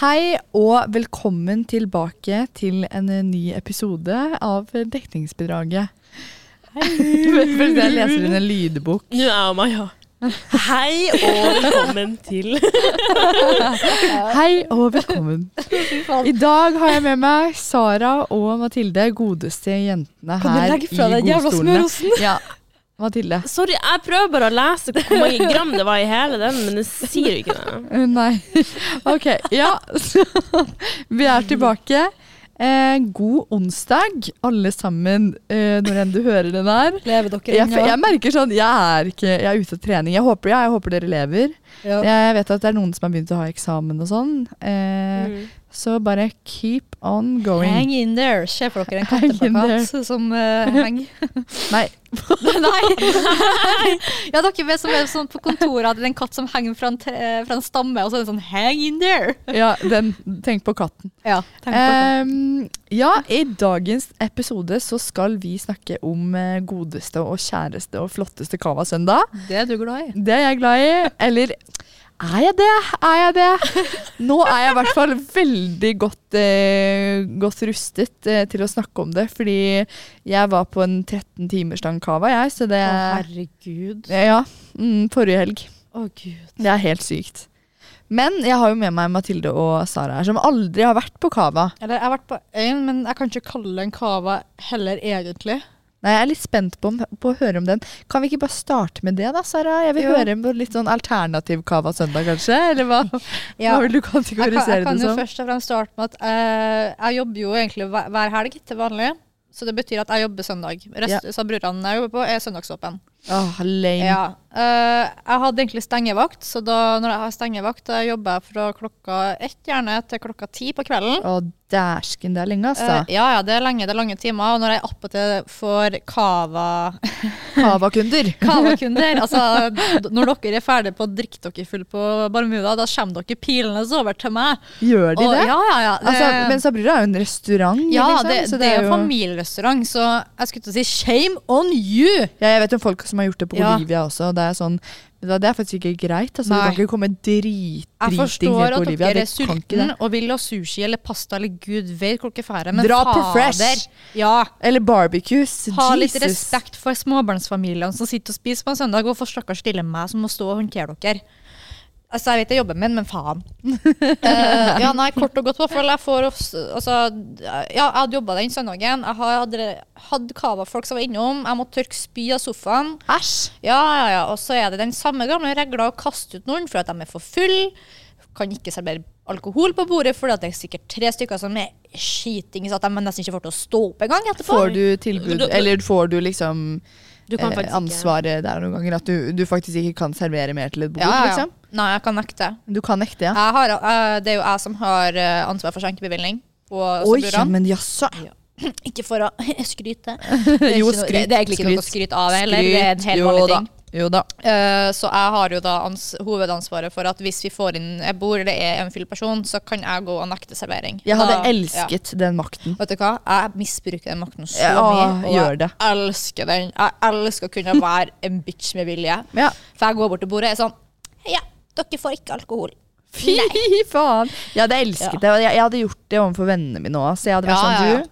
Hei og velkommen tilbake til en eh, ny episode av Dekningsbidraget. Fordi jeg leser inn en lydbok. Nå er jeg meg, ja. Hei og velkommen til Hei og velkommen. I dag har jeg med meg Sara og Mathilde, godeste jentene Kan du her legge fra deg i jævla godstolene. smørosten? Ja, Mathilde. Sorry, jeg prøver bare å lese hvor mange gram det var i hele den, men det sier jo ikke det. Uh, Nei. Ok, ja. Så, vi er tilbake. Eh, god onsdag, alle sammen, eh, når enn du hører den her. Lever dere Jeg, ennå? jeg merker sånn, jeg er, ikke, jeg er ute av trening. Jeg håper, ja, jeg håper dere lever. Ja. Jeg vet at det er noen som har begynt å ha eksamen og sånn. Eh, Så bare keep on going. Hang in there. Se for dere en Hang in katteplakat som eh, henger. Nei, Nei! ja, dere vet som er sånn på kontoret hadde en katt som henger fra en, tre, eh, fra en stamme, og så er det sånn hang in there. ja, den, tenk på katten. Ja, Eh. Ehm, ja, i dagens episode så skal vi snakke om eh, godeste og kjæreste og flotteste Kava søndag. det er du glad i. Det er jeg glad i. Eller er jeg det? Er jeg det? Nå er jeg i hvert fall veldig godt, eh, godt rustet eh, til å snakke om det, fordi jeg var på en 13 timers lang cava, jeg, så det Å, Eh. herregud. Ja. Mm, forrige helg. Å, gud. Det er helt sykt. Men jeg har jo med meg Mathilde og Sara her, som aldri har vært på cava. Eller, jeg har vært på én, men jeg kan ikke kalle det en cava heller, egentlig. Nei, Jeg er litt spent på, om, på å høre om den. Kan vi ikke bare starte med det, da, Sara? Jeg vil Jo. høre på litt sånn alternativ Cava søndag, kanskje? Eller hva, hva vil du Jeg kan, jeg kategorisere kan det jo som? først og fremst starte med at eh, jeg jobber jo egentlig hver, hver helg til vanlig. Så det betyr at jeg jobber søndag. Rest, Så brødrene jeg jobber på, er søndagsåpen. Åh, lame. Ja. Eh, jeg hadde egentlig stengevakt, så da, når jeg har stengevakt, da jobber jeg fra klokka ett gjerne til klokka ti på kvelden. Å, dæsken, det er lenge, Eh, altså. ja, ja, det er lenge, det er lange timer. Og når jeg attpåtil får cava Cava-kunder. Cava-kunder. Altså, d- når dere er ferdige på å drikke dere full på Barmuda, da kommer dere pilende over til meg. Gjør de Og- det? Ja, ja, ja. Det- Altså, men Sabrina er jo en restaurant, Ja, liksom. det, så det, er jo familierestaurant, så jeg skulle til å si shame on you! ja, jeg vet om folk som har gjort det på Ja. Olivia også. og Det er sånn vet du hva, Det er faktisk ikke greit. Altså, du Nei. kan ikke komme drit, Jeg driting forstår ned på at Olivia. dere Det er kan ikke det. sultne og vil ha sushi eller pasta eller gud vet hvor dere drar, men Dra på fader Fresh. Ja, Eller barbecues. ha litt Jesus. respekt for småbarnsfamiliene som sitter og spiser på en søndag, og for stakkars lille meg som må stå og håndtere dere. Altså, Jeg vet det er jobben min, men faen. Eh, ja, nei, Kort og godt, i hvert fall. Jeg får ofs- altså, ja, jeg hadde jobba den søndagen. Jeg hadde, hadde cava-folk som var innom. Jeg måtte tørke spy av sofaen. Æsj. Ja, ja, ja. Og så er det den samme gamle regla å kaste ut noen for at de er for full. Kan ikke servere alkohol på bordet, for det er sikkert tre stykker som er skiting, så at de nesten ikke får til å stå opp engang etterpå. Får du tilbud, Du- du- eller får du liksom Du kan eh, faktisk ikke ansvaret der noen ganger? At du, du faktisk ikke kan servere mer til et bord, ja, ja, ja. liksom? Nei, jeg kan nekte. Du kan nekte, ja? Jeg har, eh, det er jo jeg som har eh, ansvar for skjenkebevilgning. og Oi, ja, Sobrerand. men jaså. Ikke for å skryte. Det er Jo, ikke noe- Det, det er egentlig ikke noe å skryte av heller. Det er en helt jo vanlig da. ting. Jo da. Eh, så jeg har jo da ans hovedansvaret for at hvis vi får inn et bord eller det er en full person, så kan jeg gå og nekte servering. Jeg hadde Da- ja. elsket den makten. Vet du hva? Jeg misbruker den makten så Ja, mye. Og gjør det. jeg elsker den. Jeg elsker å kunne være en bitch med vilje. Ja. For jeg går bort til bordet og er sånn Ja, dere får ikke alkohol. Fy faen! Jeg hadde elsket Ja. det. og Jeg, jeg hadde gjort det overfor vennene mine òg. Så jeg hadde vært Ja, ja, ja. sånn, du,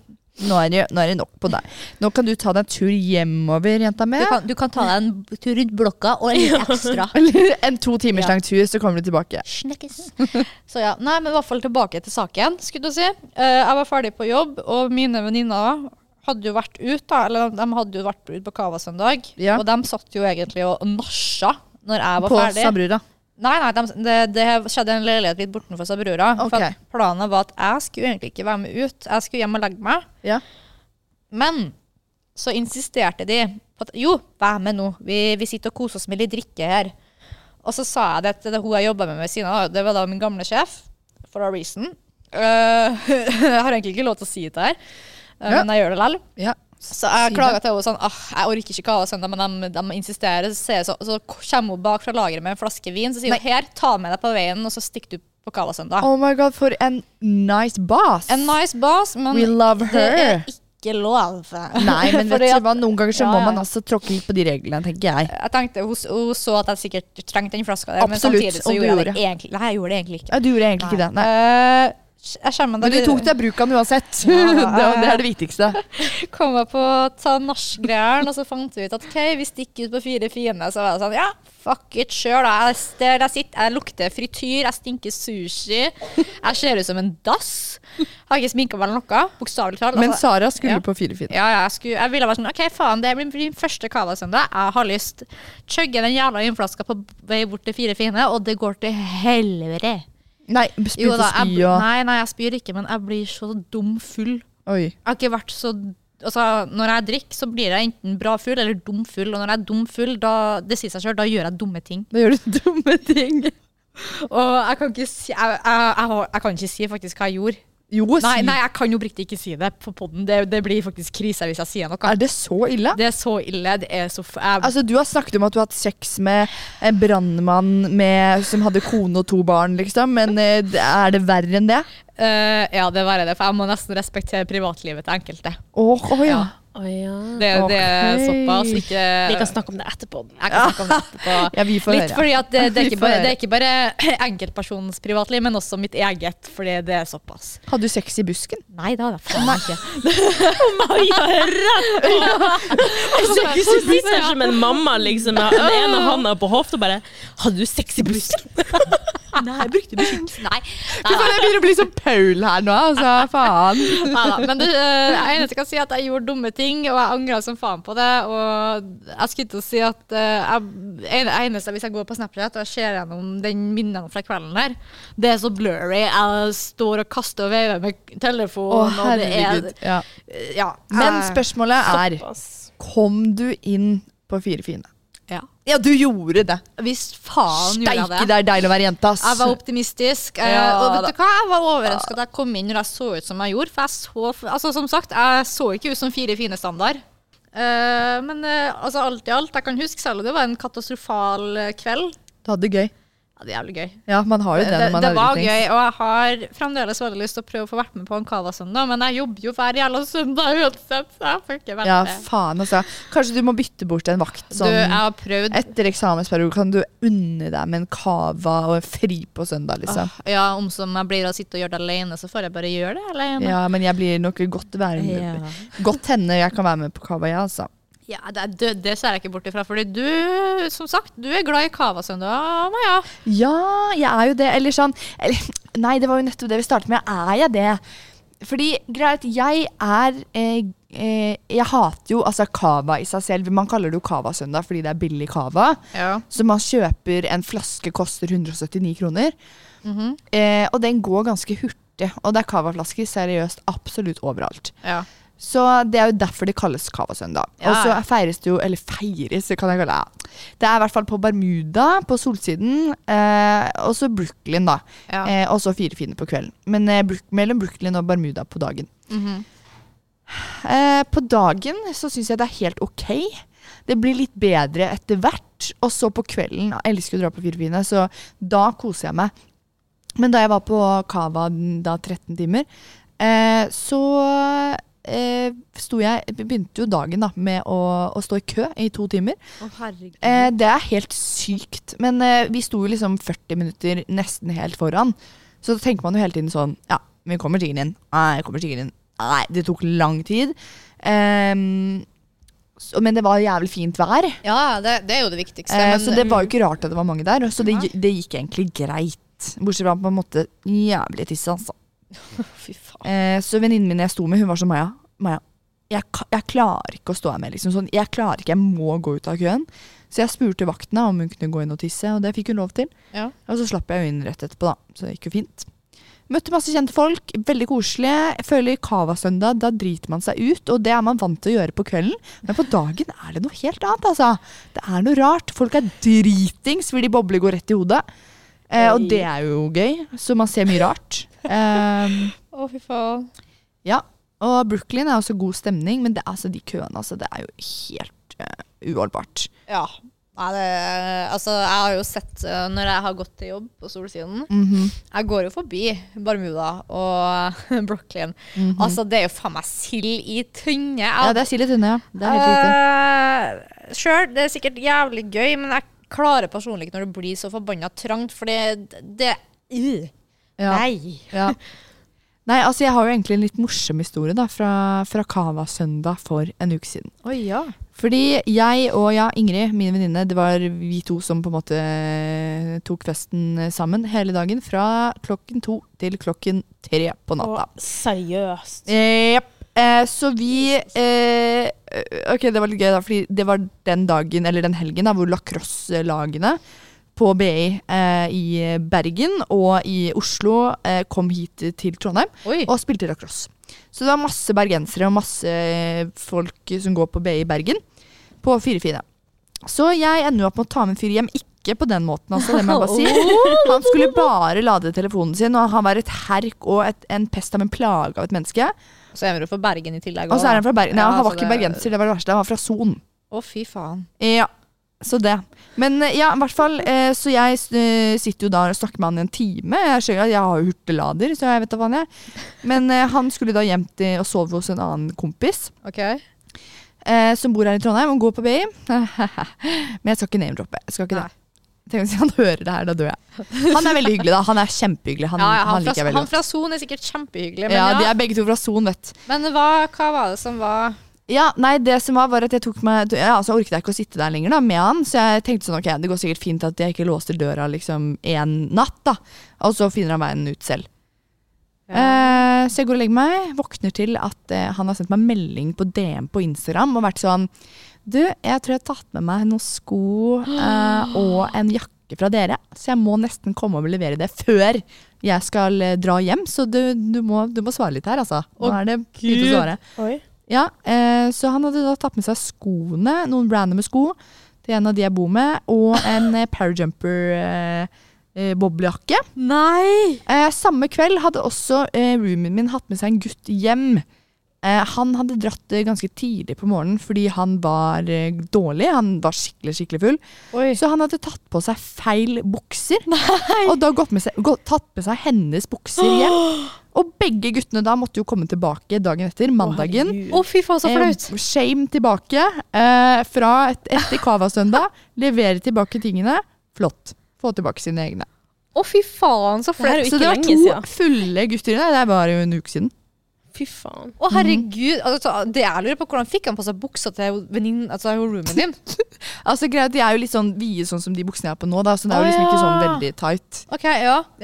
nå er, det, nå er det nok på deg. Nå kan du ta deg en tur hjemover, jenta mi. Du kan, du kan ta deg en tur rundt blokka og en litt ekstra. Eller en to timers lang tur, så kommer du tilbake. Snekkes. Så ja, nei, men i hvert fall tilbake til saken, skulle du si. Eh, jeg var ferdig på jobb, og mine venninner hadde jo vært ut da, eller de- de hadde jo vært ut på Kava søndag, Ja. og de satt jo egentlig og nasja når jeg var På ferdig. Sabrura. Nei, nei, de, det, det skjedde i en leilighet litt bortenfor Sabrura. Ok. For at planen var at jeg skulle egentlig ikke være med ut. Jeg skulle hjem og legge meg. Ja. Men så insisterte de på at jo, vær med nå. Vi, vi sitter og koser oss med litt drikke her. Og så sa jeg det til det hun jeg jobba med ved siden av. Det var da min gamle sjef. For a reason. Eh, jeg har egentlig ikke lov til å si det her, eh, Ja. men jeg gjør det likevel. Ja. Så jeg Si det. klaga til henne sånn ah, Jeg orker ikke kava søndag, men de, de insisterer. Så, sier jeg så, så kommer hun bak fra lageret med en flaske vin så sier hun her, ta med deg på veien, og så stikker du på kava søndag. Oh my god, for en nice boss! En nice boss, men We love det er her. ikke ikke lov. Nei, men vet Fordi du hva, noen ganger så Ja, må ja. man altså tråkke litt på de reglene, tenker jeg. Jeg tenkte, hun, hun så at jeg sikkert trengte den flaska der, Absolutt, men samtidig og så du gjorde jeg det gjorde. egentlig Nei, jeg gjorde det egentlig ikke. Ja, du gjorde egentlig ikke det. Nei. Eh, jeg skjønner meg Men du tok deg bruk av den uansett. det, Ja, Altså, da. det er det viktigste. kom jeg på ta nach-greieren, og så fant vi ut at ok, vi stikker ut på fire fine. Så var det sånn, ja, fuck it sjøl. Jeg, der jeg sitter, jeg lukter frityr, jeg stinker sushi. Jeg ser ut som en dass. Har ikke sminka meg eller noe, bokstavelig talt. Men Altså, Sara skulle ja. på Firefin. ja, ja, jeg, skulle, jeg ville være sånn OK, faen, det blir min første cava-søndag. Jeg har lyst. Chugge den jævla vinflaska på vei bort til Fire fine, og det går til helvete. Nei, Jo spytte da, jeg, spy og nei, nei, jeg spyr ikke, men jeg blir så dum full. Oi. Jeg har ikke vært så Altså, når jeg drikker, så blir jeg enten bra full eller dum full. Og når jeg er dum full, da, det sier seg selv, da gjør jeg dumme ting. Da gjør du dumme ting. Og jeg kan ikke si, jeg, jeg, jeg, har- jeg kan ikke si faktisk hva jeg gjorde. Jo, Nei, si. nei, jeg kan jo oppriktig ikke si det på podden. Det, det blir faktisk krise hvis jeg sier noe. Er det så ille? Det er så ille. Det er så f jeg, Altså, Du har snakket om at du har hatt sex med en brannmann med, som hadde kone og to barn, liksom. Men eh, det- er det verre enn det? Øh, ja, det er verre det, for jeg må nesten respektere privatlivet til enkelte. Åh, åh, ja. Å ja. Det, det er Ok. såpass. Ikke Vi kan snakke om det etterpå. Jeg kan snakke om det etterpå. ja, vi får Litt høre. fordi at det, det, er Vi ikke får bare, høre. det er ikke bare enkeltpersonens privatliv, men også mitt eget, fordi det er såpass. Hadde du sex i busken? Nei, det hadde jeg faen ikke. Maja er rett på! Hun sitter her sånn som en mamma liksom, med den ene handa på hofta og bare 'Hadde du sex i busken?' Nei, jeg brukte musikk. Nei, Fy faen, jeg begynner å bli som Paul her nå, altså. Faen. nei da. Men det, eh, jeg eneste kan si at jeg gjorde dumme ting, og jeg angra som faen på det. Og jeg skulle til å si at eh, jeg, en- eneste hvis jeg går på Snapchat og jeg ser gjennom den minnene fra kvelden der, det er så blurry. Jeg står og kaster og veiver med Å, telefonen, og det er herregud. Ja. Ja. Men jeg- spørsmålet er, Såpass. kom du inn på Fire fine? ja. Ja, du gjorde det. Hvis faen gjorde jeg Steike, det. det er deilig å være jente, ass. Jeg var optimistisk. eh, Ja, og vet da. du hva? Jeg var overraska da jeg kom inn når jeg så ut som jeg gjorde. For jeg så, altså, som sagt, jeg så ikke ut som fire fine standard. Eh, men eh, altså, alt i alt, jeg kan huske, selv om det var en katastrofal eh, kveld Du hadde det gøy. ja, Det er jævlig gøy. Eh, Ja, man har jo det Det, når man det er var dritings. gøy, og jeg har fremdeles veldig lyst til å prøve å få vært med på en Cava-søndag, men jeg jobber jo hver jævla søndag uansett, så jeg får ikke vært Ja, med. faen, altså. Kanskje du må bytte bort en vakt Du, jeg sånn. har prøvd. Etter eksamensperiode kan du unne deg med en cava og en fri på søndag, liksom. Ja, om som jeg blir å sitte og gjøre det alene, så får jeg bare gjøre det alene. Ja, men jeg blir nok godt være med. Godt hende jeg kan være med på cava, jeg, altså. Ja, det, er- det, det ser jeg ikke bort ifra. Fordi du, som sagt, du er glad i Cava-søndag, Maja. Ja, jeg er jo det. Eller sånn eller, Nei, det var jo nettopp det vi startet med. Er jeg det? Fordi greit, jeg er eh, eh, Jeg hater jo altså cava i seg selv. Man kaller det jo cavasøndag fordi det er billig cava. Ja. Så man kjøper en flaske, koster 179 kroner. eh, og den går ganske hurtig. Og det er cavaflasker seriøst absolutt overalt. ja. Så det er jo derfor det kalles Cava-søndag. Ja, Og så ja. feires det jo, eller feires, det kan jeg kalle det. Det er i hvert fall på Bermuda, på solsiden, eh, og så Brooklyn, da. Ja. Eh, og så fire fine på kvelden. Men eh, Brook- mellom Brooklyn og Bermuda på dagen. Mhm. eh, på dagen så syns jeg det er helt ok. Det blir litt bedre etter hvert. Og så på kvelden, jeg elsker å dra på fire fine, så da koser jeg meg. Men da jeg var på Cava den- da 13 timer, eh, så eh, sto jeg Begynte jo dagen da med å, å stå i kø i to timer. herregud. Eh, det er helt sykt. Men eh, vi sto jo liksom 40 minutter nesten helt foran. Så da tenker man jo hele tiden sånn Ja, vi kommer sikkert inn. Nei, vi kommer sikkert inn. Nei, det tok lang tid. Ehm, så, men det var jævlig fint vær. ja, det, det er jo det viktigste. Eh, men- så det var jo ikke rart at det var mange der. Så det, det gikk egentlig greit. Bortsett fra på en måte jævlig tisse, altså. Fy faen. Eh, så venninnen min jeg sto med, hun var sånn Maja, Maja jeg, ka- jeg klarer ikke å stå her med. Liksom. Sånn, jeg klarer ikke, jeg må gå ut av køen. Så jeg spurte vaktene om hun kunne gå inn og tisse, og det fikk hun lov til. Ja. Og så slapp jeg jo inn rett etterpå, da. Så det gikk jo fint. Møtte masse kjente folk, veldig koselige. Jeg føler Cava-søndag, da driter man seg ut, og det er man vant til å gjøre på kvelden. Men på dagen er det noe helt annet, altså. Det er noe rart. Folk er dritings fordi bobler går rett i hodet. Eh, og det er jo gøy, så man ser mye rart. Um, Å, fy faen. ja, og Brooklyn er også god stemning, men det, altså, de køene altså, det er jo helt eh, uholdbart. Ja. Nei, det, altså, jeg har jo sett eh, når jeg har gått til jobb på Solsiden Mhm. Jeg går jo forbi Bermuda og Brooklyn. Altså, det er jo faen meg sild i tønne. Jeg Mhm. Ja, det er sild i tynne, ja. Det er helt riktig. Eh, sure, det er sikkert jævlig gøy, men jeg klarer personlig ikke når det blir så forbanna trangt, for det, det øh, Ja. Nei. Ja. Nei, altså jeg har jo egentlig en litt morsom historie da, fra, fra Kava søndag for en uke siden. Oi, ja. Fordi jeg og ja, Ingrid, min venninne, det var vi to som på en måte eh, tok festen sammen hele dagen. Fra klokken to til klokken tre på natta. seriøst. Jepp. Eh, så vi eh, Ok, det var litt gøy, da, fordi det var den dagen, eller den helgen, da, hvor lacrosse-lagene på BI eh, i Bergen og i Oslo eh, kom hit til Trondheim Oi. og spilte lacrosse. Så det var masse bergensere og masse folk som går på BI i Bergen på 4-4. Så jeg ender jo opp med å ta med en fyr hjem. Ikke på den måten, altså. Det må jeg bare si. Han skulle bare lade telefonen sin, og han var et herk og et, en pest av en plage av et menneske. Så er vi jo fra Bergen i tillegg. Og så er han fra Bergen. Nei, Ja, han var så ikke det- bergenser, det var det verste. Han var fra Son. Å, fy faen. Ja, så det. Men eh, ja, i hvert fall, eh, så jeg eh, sitter jo da og snakker med han i en time. Jeg skjønner at jeg har jo hurtiglader, så jeg vet da faen jeg. Men eh, han skulle da hjem til og sove hos en annen kompis Ok. eh, som bor her i Trondheim og går på BI. Men jeg skal ikke name-droppe. Jeg skal ikke det. Tenk hvis han hører det her, da dør jeg. Han er veldig hyggelig, da. Han er kjempehyggelig. Han, ja, ja, han, han liker fra, jeg veldig han godt. fra Son er sikkert kjempehyggelig, men, Ja, ja, de er begge to fra Son, vet men hva, hva var det som var Ja, nei, det som var, var at jeg tok meg ja, altså, Jeg orket jeg ikke å sitte der lenger da, med han, så jeg tenkte sånn, ok, det går sikkert fint at jeg ikke låser døra liksom en natt, da. Og så finner han veien ut selv. Eh, så jeg går og legger meg, våkner til at eh, han har sendt meg melding på DM på Instagram og vært sånn Du, jeg tror jeg har tatt med meg noen sko eh, og en jakke fra dere, så jeg må nesten komme og levere det før jeg skal eh, dra hjem, så du, du, må, du må svare litt her, altså. Nå er det ute å Gud. svare. Ja, eh, så han hadde da tatt med seg skoene, noen randome sko, til en av de jeg bor med, og en eh, parajumper eh, eh, boblejakke. Nei! Eh, samme kveld hadde også eh, roomien min hatt med seg en gutt hjem. Eh, han hadde dratt eh, ganske tidlig på morgenen fordi han var eh, dårlig. Han var skikkelig, skikkelig full. Oi. Så han hadde tatt på seg feil bukser. Og da gått med seg, gått, tatt med seg hennes bukser hjem. Og begge guttene da måtte jo komme tilbake dagen etter, mandagen. Å, fy faen, så flaut. Eh, shame tilbake eh, fra et, etter Cava-søndag. Levere tilbake tingene. Flott. Få tilbake sine egne. Å, fy faen, så Det her er flaut. jo Så ikke det var lenge to siden. fulle gutter der. Det var jo en uke siden. Fy faen. Å, herregud. Altså, det jeg lurer på, hvordan fikk han på seg buksa til venninnen, altså jo roomien din? Altså greit, De er jo litt sånn vide, sånn som de buksene jeg har på nå. da, Så det er jo Å, liksom ikke sånn ja. veldig tight. Ok,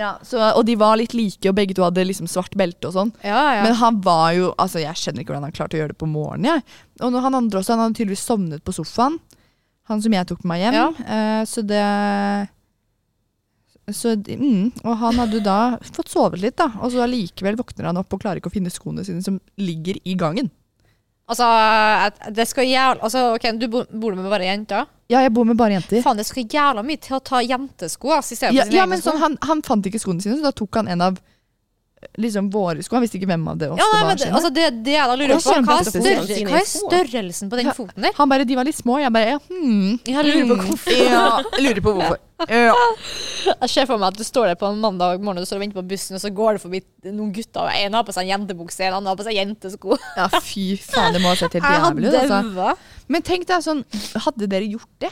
ja. Så, og de var litt like, og begge to hadde liksom svart belte og sånn. Ja, ja. Men han var jo Altså, jeg skjønner ikke hvordan han klarte å gjøre det på morgenen. Jeg. Og når han andre også, han hadde tydeligvis sovnet på sofaen. Han som jeg tok med meg hjem. Ja. Eh, så det så, de- mm, og han hadde jo da fått sovet litt, da. Og så allikevel våkner han opp og klarer ikke å finne skoene sine som ligger i gangen. Altså, at det skal jævla altså, ok, Du bo- bor med bare jenter? Ja, jeg bor med bare jenter. Faen, det skal jævla mye til å ta jentesko ass, i stedet Ja, for sine ja egne men sko. sånn, han, han fant ikke skoene sine, så da tok han en av liksom, våre sko. Han visste ikke hvem av det oss ja, nei, det var. men, det- skjønner du? altså, det, det jeg da lurer Jeg på, kjenner hva på er, det. større, Sine hva er sko. størrelsen på den foten der? Mm. han bare, de var litt små. Jeg bare, ja, hmm. Jeg lurer på hvorfor. Ja, jeg lurer på hvorfor. Ja. Jeg ser for meg at du står der på en mandag morgen og du står og venter på bussen, og så går det forbi noen gutter, og en har på seg en jentebukse, en annen har på seg jentesko. ja, fy faen, det må ha sett helt jævlig ut. Altså. Men tenk deg sånn, hadde dere gjort det?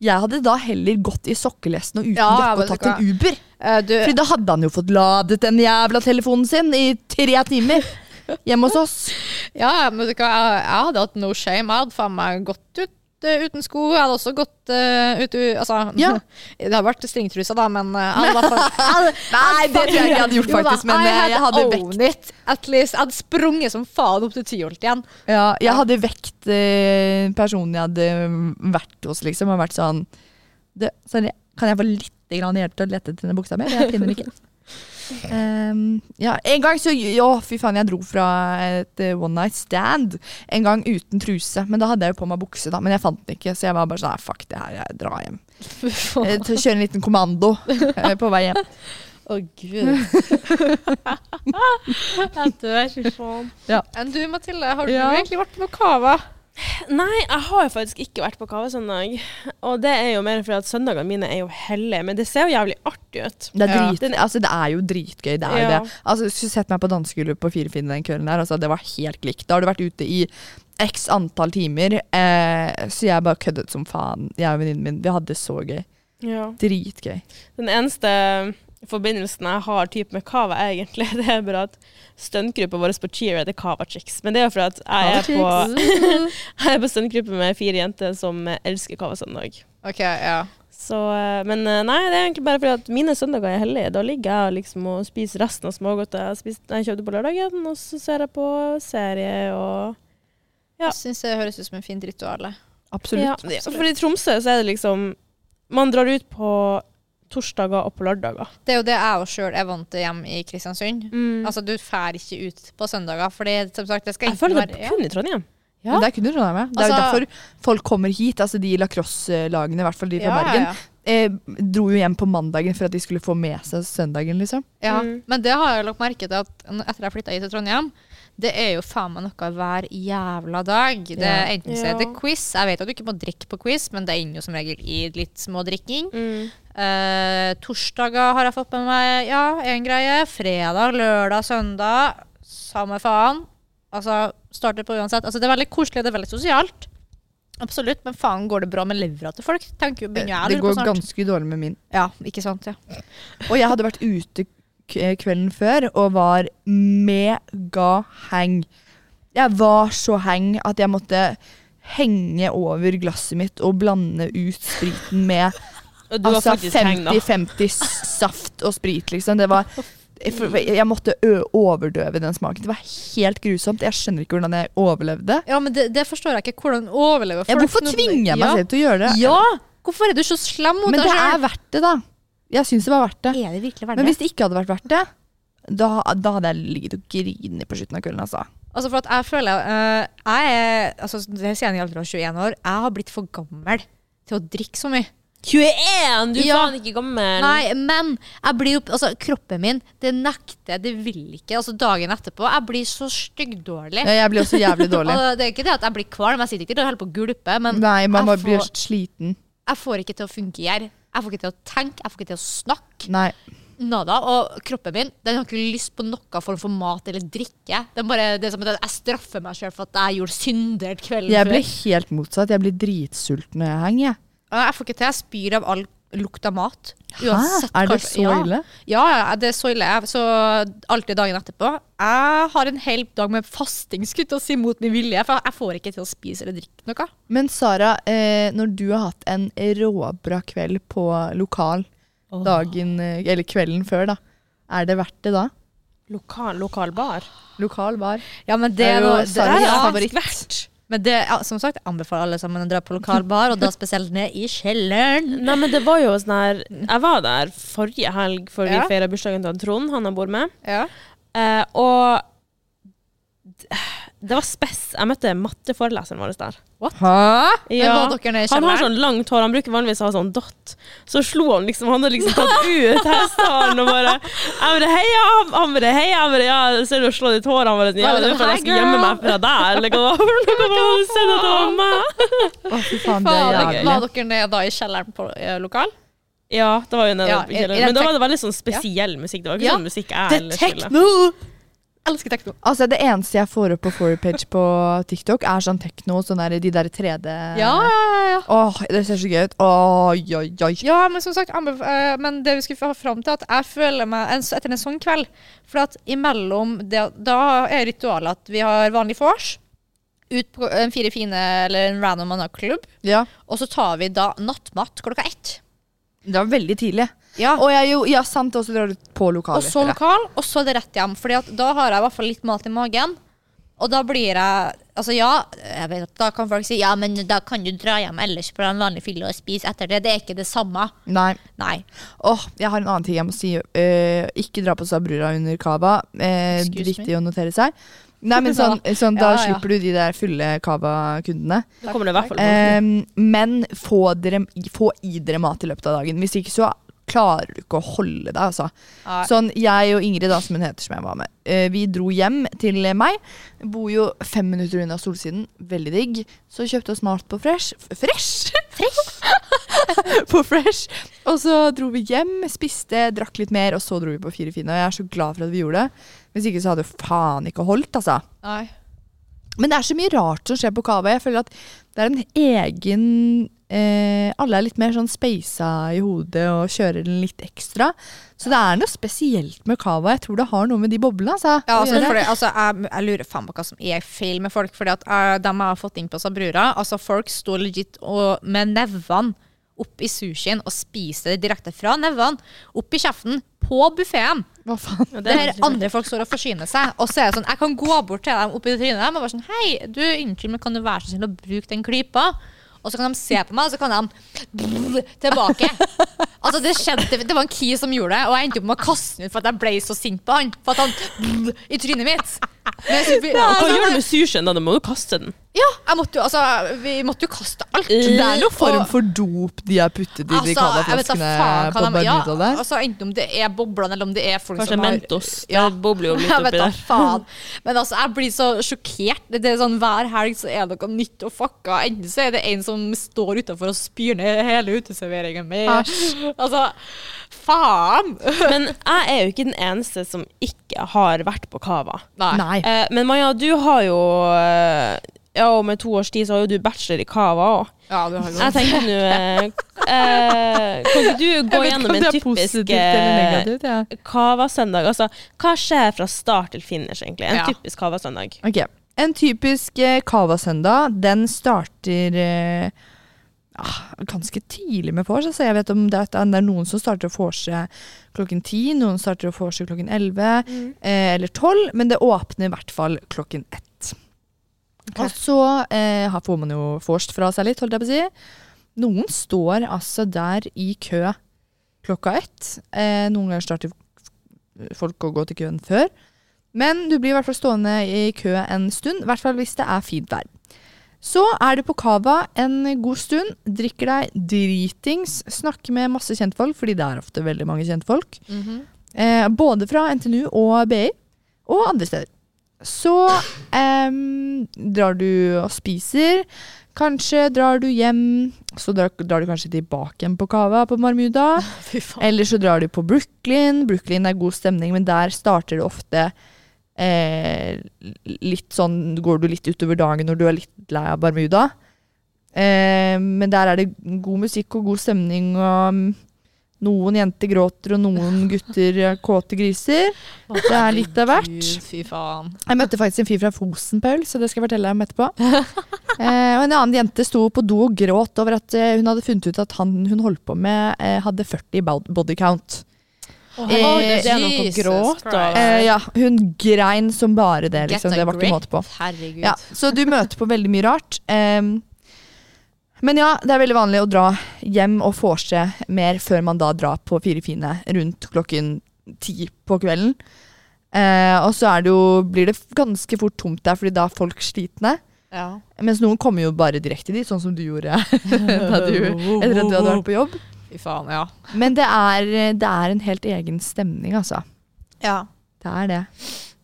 Jeg hadde da heller gått i sokkelesten og uten Ja, jakke og vet du tatt en Uber. Eh, du, Fordi da hadde han jo fått ladet den jævla telefonen sin i tre timer hjemme hos oss. ja, men vet du hva, jeg, jeg hadde hatt no shame. Jeg hadde faen meg gått ut eh, uten sko. Jeg hadde også gått eh, ut u- Altså, Ja. det hadde vært stringtrusa, da, men eh, jeg hadde i hvert fall jeg hadde- Nei, det tror jeg ikke jeg hadde gjort, Jo da, faktisk, men, I eh, jeg had hadde owned it, at least. Jeg hadde sprunget som faen opp til Tyholt igjen. Ja, jeg hadde vekt eh, personen jeg hadde vært hos, liksom, og vært sånn du, Sorry, kan jeg få litt grann hjelp til å lete etter denne buksa mi? Jeg finner den ikke. Ehm, ja, en gang så Å, fy faen, jeg dro fra et eh, one night stand. En gang uten truse. Men da hadde jeg jo på meg bukse, da. Men jeg fant den ikke, så jeg var bare sånn "Nei, Fuck det her, jeg drar hjem. Eh, til å Kjøre en liten kommando eh, på vei hjem. Å, gud. Jeg dør, fy faen. Enn du, Mathilde, har du Ja. egentlig vært på noe kava? Nei, jeg har jo faktisk ikke vært på kavesøndag. Og det er jo mer fordi at søndagene mine er jo hellige, men det ser jo jævlig artig ut. Det er, Ja. drit, altså, det er jo dritgøy. Det er jo Ja. det. Altså, skulle sett meg på dansegulvet på Firefinn den kvelden der. Altså, det var helt likt. Da har du vært ute i x antall timer. Eh, så jeg bare køddet som faen. Jeg og venninnen min. Vi hadde det så gøy. Dritgøy. Den eneste forbindelsen jeg har typ med Kava, er egentlig, det er bare at stuntgruppa vår på Cheer heter Kava Chicks. Men det er jo fordi at jeg er på, jeg er på stuntgruppe med fire jenter som elsker Kava søndag. Ok, ja. Så, eh, men eh, nei, det er egentlig bare fordi at mine søndager er hellige. Da ligger jeg og liksom og spiser resten av smågodtet jeg, har spist- jeg kjøpte på lørdagen, og så ser jeg på serie og Ja. Jeg syns det høres ut som en fin ritual. Absolutt. Ja, ja, For i Tromsø så er det liksom Man drar ut på torsdager og på lørdager. Det er jo det jeg og sjøl er vant til hjemme i Kristiansund. Mm. Altså, du fær ikke ut på søndager, for som sagt, det skal Jeg enten føler det være- er kun i Trondheim. Men det er kun i Trondheim. ja. Det er jo Altså- derfor folk kommer hit. Altså, de lacrosse-lagene, i hvert fall de fra Ja, ja, Bergen, ja. Eh, dro jo hjem på mandagen for at de skulle få med seg søndagen, liksom. Ja, Mm. men det har jeg lagt merke til at n- etter jeg flytta hit til Trondheim, det er jo faen meg noe hver jævla dag. Det Ja. er Enten så er det Ja. quiz, jeg vet at du ikke må drikke på quiz, men det ender jo som regel i litt smådrikking. Mm. Eh, torsdager har jeg fått med meg, ja, én greie. Fredag, lørdag, søndag. Samme faen. Altså, starter på uansett. Altså, det er veldig koselig, det er veldig sosialt. Absolutt, men faen går det bra med levra til folk? Tenker jo, begynner jeg å Eh, det lure på går snart. ganske dårlig med min. Ja, ikke sant, ja. Og jeg hadde vært ute k- eh, kvelden før og var mega-hang. Jeg var så hang at jeg måtte henge over glasset mitt og blande ut spriten med Og du altså har faktisk tegn, da. 50-50 saft og sprit, liksom. Det var jeg for- jeg måtte ø overdøve den smaken. Det var helt grusomt. Jeg skjønner ikke hvordan jeg overlevde. Ja, men det, det forstår jeg ikke. Hvordan overlever Ja, folk hvorfor noe- tvinger jeg meg ja. selv til å gjøre det? Ja! Hvorfor er du så slem mot Men deg det er selv? verdt det, da. Jeg syns det var verdt det. Er det virkelig verdt Men det? hvis det ikke hadde vært verdt det, da, da hadde jeg ligget og grinet på slutten av kvelden. Altså. Altså, for at jeg føler eh, Jeg er altså, det sier jeg i alder av 21 år. Jeg har blitt for gammel til å drikke så mye. 21! Du er Ja. faen ikke gammel. Nei, men jeg blir jo Altså, kroppen min, det nekter, det vil ikke. Altså, dagen etterpå Jeg blir så styggdårlig. Ja, Jeg blir også jævlig dårlig. Og det er ikke det at jeg blir kvalm, jeg sitter ikke og holder på å gulpe, men Nei, man bare jeg, blir får, sliten. jeg får ikke til å fungere. Jeg får ikke til å tenke, jeg får ikke til å snakke. Nei. Nada, og kroppen min den har ikke lyst på noe form for mat eller drikke. Den bare, det er som at jeg straffer meg selv for at jeg gjorde synder kvelden Jeg før. blir helt motsatt. Jeg blir dritsulten når jeg henger. jeg. Ja, Jeg får ikke til. Jeg spyr av all lukt av mat. Hæ? Er det hva- så ja. ille? Ja, ja, det er så ille. Jeg- Så alltid dagen etterpå. Jeg har en hel dag med fasting skutt å si mot min vilje, for jeg får ikke til å spise eller drikke noe. Men Sara, eh, når du har hatt en råbra kveld på lokal dagen, eh, eller kvelden før, da, er det verdt det da? Lokal, lokal bar. Lokal bar. Ja, men Det er jo noe- Saras ja. favoritt. Men det, ja, som sagt, jeg anbefaler alle sammen å dra på lokal bar, og da spesielt ned i kjelleren. Nei, men det var jo sånn her Jeg var der forrige helg, for vi Ja. feira bursdagen til Trond, han jeg bor med. Ja. Eh, og d- det var spess. Jeg møtte matteforeleseren vår der. Hæ? Ja. Men var dere nede han har i kjelleren? sånn langt hår. Han bruker vanligvis å ha sånn dott. Så slo han liksom Han hadde liksom tatt ut hestehalen og bare Jeg bare heia! Han- Han bare heia! Jeg bare, ja, ser du å slå ditt hår? Han bare ja, Var det det er sånn, for «Hei, jeg skal gjemme girl!» meg fra deg. Eller hva det var. Noe bare, «Se at det var meg. Å, fy faen, det er Faen, det er jævlig. Var dere nede da i kjelleren på eh, lokal? Ja, det var jo nede Ja, på i- i kjelleren. den Men da tek- var det veldig sånn spesiell musikk. Det var ikke Ja. sånn musikk jeg ellers ville. Elsker tekno. Altså, det eneste jeg får opp på forepage på TikTok, er sånn tekno, sånn der, de der 3D Ja, ja, ja. Åh, det ser så gøy ut. Oi, oi, oi. Ja, men som sagt, anbef- eh, men det vi skulle få fram til, at jeg føler meg en, etter en sånn kveld For at imellom det, Da er ritualet at vi har vanlig vors, ut på en fire fine eller en random annen klubb, Ja, og så tar vi da nattmat klokka ett. det var veldig tidlig. Ja. Og jeg, jo, ja, sant, og så drar du på Og lokalet. så lokal, og så er det rett hjem. Fordi at da har jeg i hvert fall litt mat i magen. Og da blir jeg Altså ja, jeg vet at da kan folk si ja, men da kan du dra hjem ellers på en vanlig fylle og spise etter det. Det er ikke det samme. Nei. Nei. Åh, jeg har en annen ting jeg må si. Eh, ikke dra på Sabrura under cava. Uh, Excuse me. Viktig å notere seg. Nei, men sånn, sånn Da Ja, ja. slipper du de der fulle cava-kundene. Da Ehm, kommer det i hvert fall Eh, men få, dere, få i dere mat i løpet av dagen. Hvis ikke så klarer du ikke å holde deg, altså. Nei. Sånn, jeg og Ingrid, da, som hun heter, som jeg var med, eh, vi dro hjem til meg. Bor jo fem minutter unna Solsiden. Veldig digg. Så kjøpte oss mat på Fresh. F- Fresh! på Fresh. Og så dro vi hjem, spiste, drakk litt mer, og så dro vi på Fire fine. Og jeg er så glad for at vi gjorde det. Hvis ikke så hadde jo faen ikke holdt, altså. Nei. Men det er så mye rart som skjer på Kava. Jeg føler at det er en egen eh, Alle er litt mer sånn speisa i hodet og kjører den litt ekstra. Så det er noe spesielt med Kava. Jeg tror det har noe med de boblene altså, Ja, å altså, gjøre. fordi, altså, jeg, jeg lurer faen på hva som er feil med folk. Fordi at eh, dem jeg har fått inn på Sabrura, altså folk står legit og, med nevene opp i sushien og spiser det direkte fra nevene, opp i kjeften, på buffeen. Hva faen? Ja, det Det er her veldig- andre folk står og forsyner seg, og så er det sånn Jeg kan gå bort til dem oppi trynet dem og bare sånn Hei, du, unnskyld, men kan du være så snill å bruke den klypa? Og så kan de se på meg, og så kan de brrr, tilbake. Altså Det skjedde, det var en key som gjorde det, og jeg endte opp med å kaste den ut for at jeg ble så sint på han. For at han brrr, i trynet mitt. Men jeg, synes vi- Og Hva altså, gjør du med sushien da? Du må jo kaste den. ja, jeg måtte jo, altså, vi måtte jo kaste alt. Det er noen form Og- for dop de har puttet i de Altså, jeg vet da Cava-flaskene faen på hva de ja, Barbuda der. altså, Enten om det er boblene eller om det er folk Kanskje som har Mentos. Det bobler jo litt Jeg vet oppi da der. faen. Men altså, jeg blir så sjokkert. Det er sånn, Hver helg så er det noe nytt og fucka. Enten så er det en som står utafor og spyr ned hele uteserveringen min. Altså, faen! Men jeg er jo ikke den eneste som ikke har vært på Kava. Nei. Eh, men Maja, du har jo eh, Ja, om et to års tid så har jo du bachelor i Kava òg. Ja, du har jo- Jeg tenker nå eh, eh, Kan ikke du gå Jeg vet ikke gjennom om en det er typisk positivt eller eh, negativt. Ja. Kava-søndag? Altså, hva skjer fra start til finish, egentlig? En Ja. typisk Kava-søndag. Ok, En typisk eh, Cava-søndag, den starter eh, ah, ganske tidlig med vors. Altså jeg vet om det, at det er noen som starter å vorse klokken ti, noen starter å vorse klokken elleve eh, eller tolv, men det åpner i hvert fall klokken ett. Og så eh, har- får man jo vorst fra seg litt, holdt jeg på å si. Noen står altså der i kø klokka ett. Eh, noen ganger starter folk å gå til køen før. Men du blir i hvert fall stående i kø en stund, i hvert fall hvis det er fint vær. Så er du på Cava en god stund, drikker deg dritings, snakker med masse kjentfolk, fordi det er ofte veldig mange kjentfolk. eh, både fra NTNU og BI, og andre steder. Så em, drar du og spiser, kanskje drar du hjem, så drar, drar du kanskje tilbake igjen på Cava på Marmuda. Fy faen. Eller så drar de på Brooklyn. Brooklyn er god stemning, men der starter det ofte eh, litt sånn Går du litt utover dagen når du er litt lei av Bermuda. Eh, men der er det god musikk og god stemning, og mm, noen jenter gråter, og noen gutter er kåte griser. Det er litt av hvert. Gud, Fy faen. Jeg møtte faktisk en fyr fra Fosen, Paul, så det skal jeg fortelle deg om etterpå. Eh, og en annen jente sto på do og gråt over at eh, hun hadde funnet ut at han hun holdt på med, eh, hadde 40 i bod- body count. herregud, det er noe Jesus gråt av. Christ. Eh, ja, hun grein som bare det, Get liksom. a Det var ikke grip. måte på. Herregud. Ja, så du møter på veldig mye rart. Ehm, men ja, det er veldig vanlig å dra hjem og vorse mer før man da drar på Fire fine rundt klokken ti på kvelden. Eh, og så er det jo, blir det ganske fort tomt der, fordi da er folk slitne. Ja. Mens noen kommer jo bare direkte dit, sånn som du gjorde da du, etter at du hadde vært på jobb. Fy faen, ja. Men det er, det er en helt egen stemning, altså. ja. Det er det.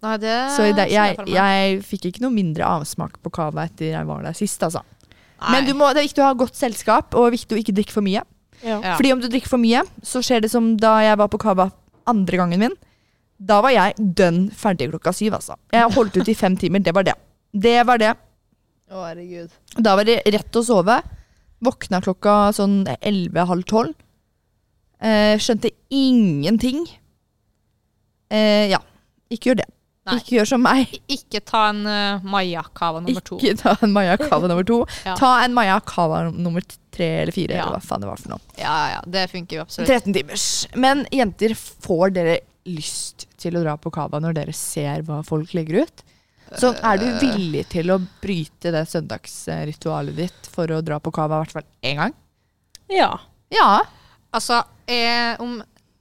Nei, det Så i dag- skjønner jeg jeg, for meg. jeg fikk ikke noe mindre avsmak på cava etter jeg var der sist, altså. Nei. Men du må, det er viktig å ha godt selskap, og viktig å ikke drikke for mye. Ja. Ja. Fordi om du drikker for mye, så skjer det som da jeg var på cava andre gangen min. Da var jeg dønn ferdig klokka syv, altså. Jeg holdt ut i fem timer. Det var det. Det var det. Å, herregud. Da var det rett å sove. Våkna klokka sånn elleve-halv tolv. Eh, skjønte ingenting. Eh, ja. Ikke gjør det. Nei. Ikke gjør som meg. Ikke ta en uh, Maya-kava nummer to. Ikke ta en Maya Cava nummer to. Ja. Ta en Maya Cava nummer t- tre eller fire, Ja. eller hva faen det var for noe. Ja, ja, det funker jo absolutt. 13 timers. Men jenter, får dere lyst til å dra på Cava når dere ser hva folk legger ut? Så er du villig til å bryte det søndagsritualet ditt for å dra på Cava i hvert fall én gang? ja. Ja. Altså, eh, om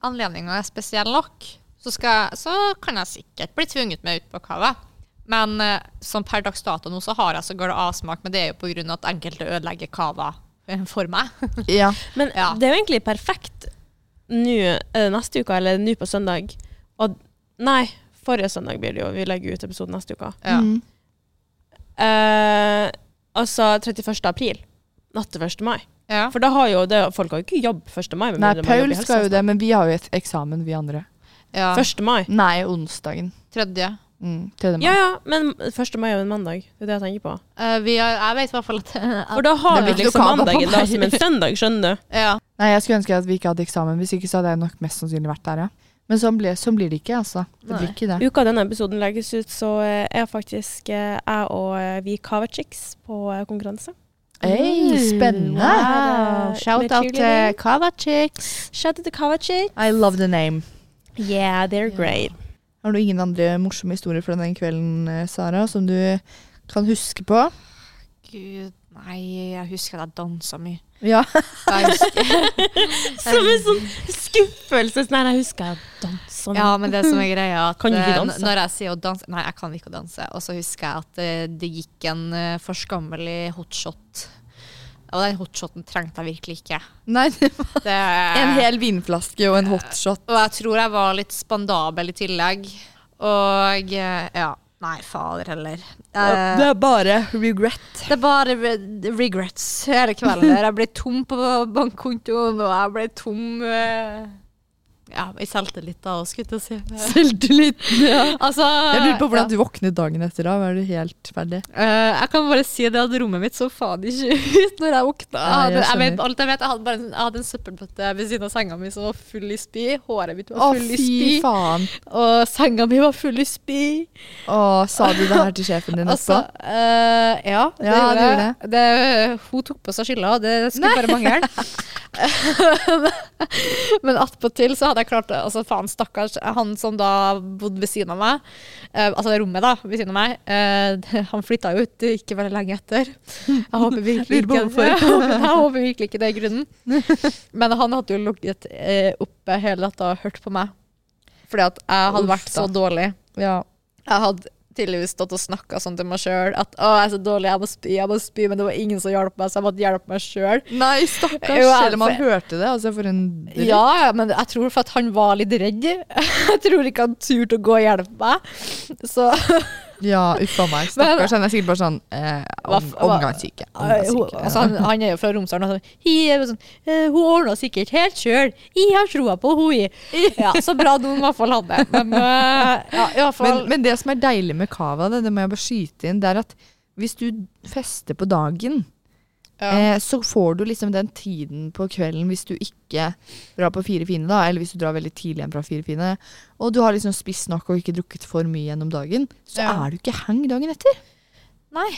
anledningen er spesiell nok, så, skal, så kan jeg sikkert bli tvunget med ut på kava. Men eh, som per dags dato nå, så har jeg så går det avsmak, men det er jo på grunn av at enkelte ødelegger kava eh, for meg. ja. Men Ja. det er jo egentlig perfekt nå eh, neste uke, eller nå på søndag og, Nei, forrige søndag blir det jo. Vi legger ut episoden neste uke. Ja. Mm. Eh, altså 31. april. Natt til 1. mai. Ja. For da har jo det, folk har jo ikke jobb 1. mai. med Nei, mindre man jobber Paul i skal jo helsevesenet. det, men vi har jo et eksamen, vi andre. ja. 1. sånn. mai. Nei, onsdagen. Tredje. Mm, tredje mai. Ja, ja, men 1. mai er jo en mandag. Det er det jeg tenker på. Eh, vi har, jeg vet i hvert fall at For da har Det vi er litt liksom lokal på mandagen da meg. som en søndag, skjønner du. ja. Nei, jeg skulle ønske at vi ikke hadde eksamen. Hvis ikke så hadde jeg nok mest sannsynlig vært der, ja. Men sånn blir, sånn blir det ikke, altså. Det Nei. blir ikke det. Uka denne episoden legges ut, så eh, er faktisk eh, jeg og eh, vi Coverchicks på eh, konkurranse. Ei, spennende. Wow. Shout out til Kava Chicks. Shout out to Coverchicks. I love the name. Yeah, they're great. Har du ingen andre morsomme historier fra den kvelden, eh, Sara, som du kan huske på? Gud, nei, jeg husker at jeg dansa mye. Ja. Jeg husker, Som en sånn skuffelse. Sånn, Nei, jeg husker jeg dansa. ja, men det som er greia er at Kan du ikke eh, danse? n- Når jeg sier å danse Nei, jeg kan ikke å danse. Og så husker jeg at eh, det gikk en eh, forskammelig hotshot. Og den hotshoten trengte jeg virkelig ikke. Nei, det var Det, Eh. en hel vinflaske og en hotshot. Og jeg tror jeg var litt spandabel i tillegg. Og eh, ja. Nei, fader heller. Eh, Det er bare regret. Det er bare re- regrets hele kvelden. der. Jeg ble tom på bankkontoen, og jeg ble tom eh, Ja, i selvtillit, da, skulle jeg til å si. Selvtillit. Ja. Altså, Jeg lurer på hvordan ja. du våknet dagen etter da. Var du helt ferdig? Eh, jeg kan bare si det at rommet mitt så faen ikke ut når jeg våkna. Jeg, Nei, jeg hadde- jeg, skjønner. vet- alt jeg, vet, jeg hadde bare en, jeg hadde en søppelbøtte ved siden av senga mi som var full i spy. Håret mitt Å, var full i spy. fy faen. Og senga mi var full i spy. Å, sa du det her til sjefen din Altså, etterpå? eh, ja, det Ja, gjorde det jeg. gjorde Det, hun tok på seg skylda, og det skulle bare mangle. Men attpåtil så hadde jeg klart det. Altså, faen, stakkars. Han som da bodde ved siden av meg, eh, altså rommet da, ved siden av meg, eh, det- han flytta jo ut ikke veldig lenge etter. Jeg håper virkelig Lurer på hvorfor. ikke, jeg håper, jeg håper virkelig ikke det er grunnen. Men han hadde jo ligget eh, oppe hele natta og hørt på meg. Fordi at jeg hadde Uff, vært så da. dårlig. ja. Jeg hadde tydeligvis stått og snakka sånn til meg sjøl at å, jeg er så dårlig, jeg må spy, jeg må spy, men det var ingen som hjalp meg, så jeg måtte hjelpe meg sjøl. Nei, stakkars. Jo, jeg- Selv om han hørte det. Altså, for en dritt. Ja, ja, men jeg tror for at han var litt redd. Jeg tror ikke han turte å gå og hjelpe meg. Så ja uff a meg. Stakkars. Han er sikkert bare sånn eh, om, Hva f- hva- omgangssyke. hun, Omgangssyke. altså, han, han er jo fra Romsdalen, og sånn, «Hi», er jo sånn «Eh, hun ordna sikkert helt sjøl. Jeg har troa på henne. Ja, så bra noen i hvert fall hadde. Men eh, ja, i hvert fall Men, men det som er deilig med cava, det, det må jeg bare skyte inn, det er at hvis du fester på dagen, Ja. eh, så får du liksom den tiden på kvelden hvis du ikke drar på Fire fine, da, eller hvis du drar veldig tidlig hjem fra Fire fine, og du har liksom spist nok og ikke drukket for mye gjennom dagen, så Ja. er du ikke hang dagen etter. Nei.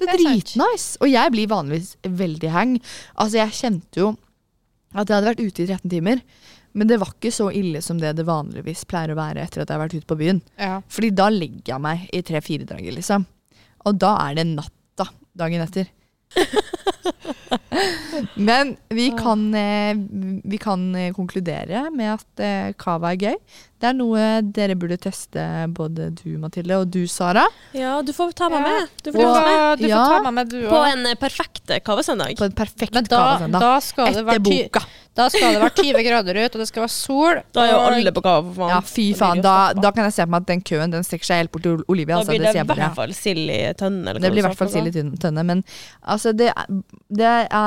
Det det er er sant. dritnice. Og jeg blir vanligvis veldig hang. Altså, jeg kjente jo at jeg hadde vært ute i 13 timer, men det var ikke så ille som det det vanligvis pleier å være etter at jeg har vært ute på byen. Ja. Fordi da legger jeg meg i tre-fire dager, liksom. Og da er det natta dagen etter. Men vi kan, eh, vi kan eh, konkludere med at eh, cava er gøy. Det er noe dere burde teste, både du Mathilde og du Sara. Ja, du får ta meg Ja. med. Du Du får ta får, meg med. ta- du får Ja. ta meg med, du På òg. en eh, perfekt eh, kavesøndag. På en perfekt Men da, cavasøndag. da skal det Etter være ty boka. Da skal det være 20 grader ut, og det skal være sol. Da er jo og- alle på kava, for faen. Ja, fy Da blir faen. det jo Da, stoppa. da kan jeg se for meg at den køen den strekker seg helt bort til Olivia. Da Altså, det blir det ser i jeg for meg. hvert fall sild i tønne. Eller Det hva blir i du hvert sa fall for noe. sild i tyn- tønne, men altså det, er- det er eh,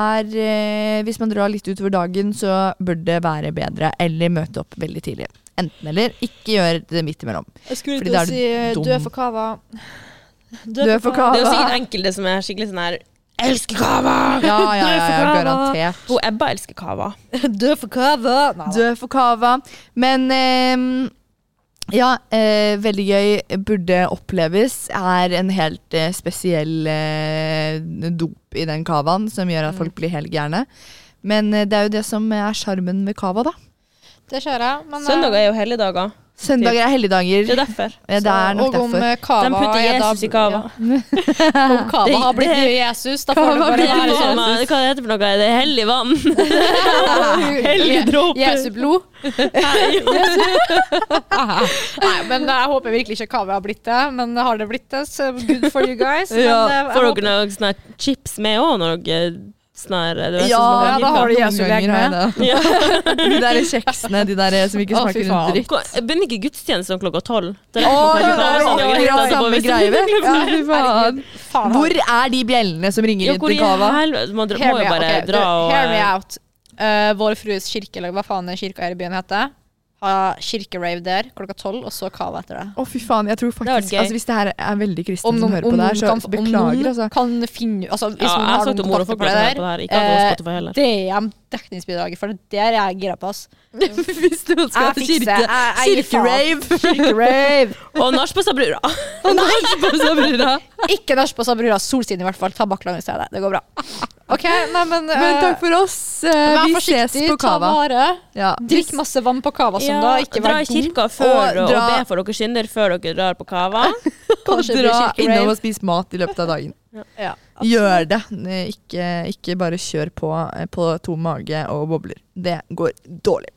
Hvis man drar litt utover dagen, så bør det være bedre. Eller møte opp veldig tidlig. Enten eller. Ikke gjør det midt imellom. Jeg skulle Fordi til da å er du si eh, dum. du er for kava. Du er for Det kava. er jo sikkert enkelte som er skikkelig sånn her Elsker kava! Ja, ja, ja, ja, kava. garantert. Hun Ebba elsker kava. Du er for kava. Nei, Du er for kava. Men eh, ja, eh, veldig gøy. Burde oppleves. Er en helt eh, spesiell eh, dop i den cavaen som gjør at folk blir helt gærne. Men eh, det er jo det som er sjarmen ved cava, da. det kjører jeg. Men, eh, Søndager er jo helligdager. Søndager er Det helligdager. er derfor. Ja, det er nok og om derfor. eh, De kava putter er da- Jesus i kava. Ja. Om kava har blitt nye Jesus, da får det Hva bare heter det være for sånn. noe? Hva heter det for noe? Er det hellig vann? Hellig Je- dråpe. Jesu blod. Nei, men jeg håper virkelig ikke kava har blitt det. Men har det blitt det, så good for you guys. Men, eh, jeg Får sånn håper- dere noen sånne chips med òg når dere Snarere. Du Ja, vet, sånn som ja, man da liker. har du Noen gjøselek ganger med. Ja. De der kjeksene, de der som ikke Å, fy smaker en faen. dritt. Ko- Begynner ikke gudstjeneste om klokka tolv? Det er Å, det klokka er tolv. akkurat Ja, det er samme bare- greie. Ja, fy faen. Faen, Hvor er de bjellene som ringer Ja, inn hvor i til Kava? helvete? Man dr- Hear må me jo bare out. Ok, dra du, og Hear me out. Eh, Vår Frues kirkelag, hva faen den kirka her i byen heter, har kirkerave der klokka tolv, og så cava etter det. Å, fy faen. Jeg tror hadde vært faktisk gøy. altså, Hvis det her er veldig kristne Om som noen, hører om på det noen her, så kan, om noen beklager, altså. kan finne altså, Hvis Ja, noen jeg har snakket noen til mor og kontakter folk på det som hører der, på det her. Ikke alle på eh, Spotify heller. DM dekningsbidraget, for det der er jeg gira på. ass. Hvis noen skal Jeg til fikser. kirke, Jeg- jeg gir kirkerave Kirkerave! Og nachspiel sa brura. Ikke nachspiel, så brura solsiden i hvert fall. Ta Bakkland i stedet. Det går bra. OK, nei, men, eh, Men takk for oss. Eh, vær Vi ses forsiktig, på Kava. Ta vare. Ja. Drikk masse vann på Kava som da. Ikke dra vær i dum. kirka før Og og, dra- be for deres synder før dere drar på kava. Og Kanskje det blir dra kirkerave. innom og spis mat i løpet av dagen. Ja. Gjør det. Eh, Ikke, ikke bare kjør på eh, på tom mage og bobler. Det går dårlig.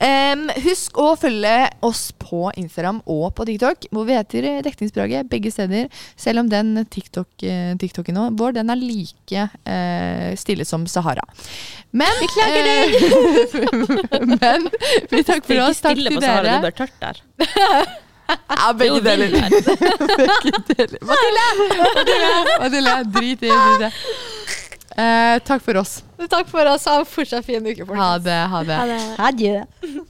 Em, husk å følge oss på Instagram og på TikTok, hvor vi heter eh, Dekningsbidraget begge steder. Selv om den TikTok, eh, TikToken nå, vår den er like eh, stille som Sahara. Men Beklager det! men vi takker Det for er ikke oss. Takk stille til på Sahara, dere. det bør tørt der. Ja, Det er jo begge deler. vill der. Mathilde, drit i drit i det. Eh, takk for oss. Takk for oss. Ha en fortsatt fin uke, folkens. Ha det. Ha det. Adjø.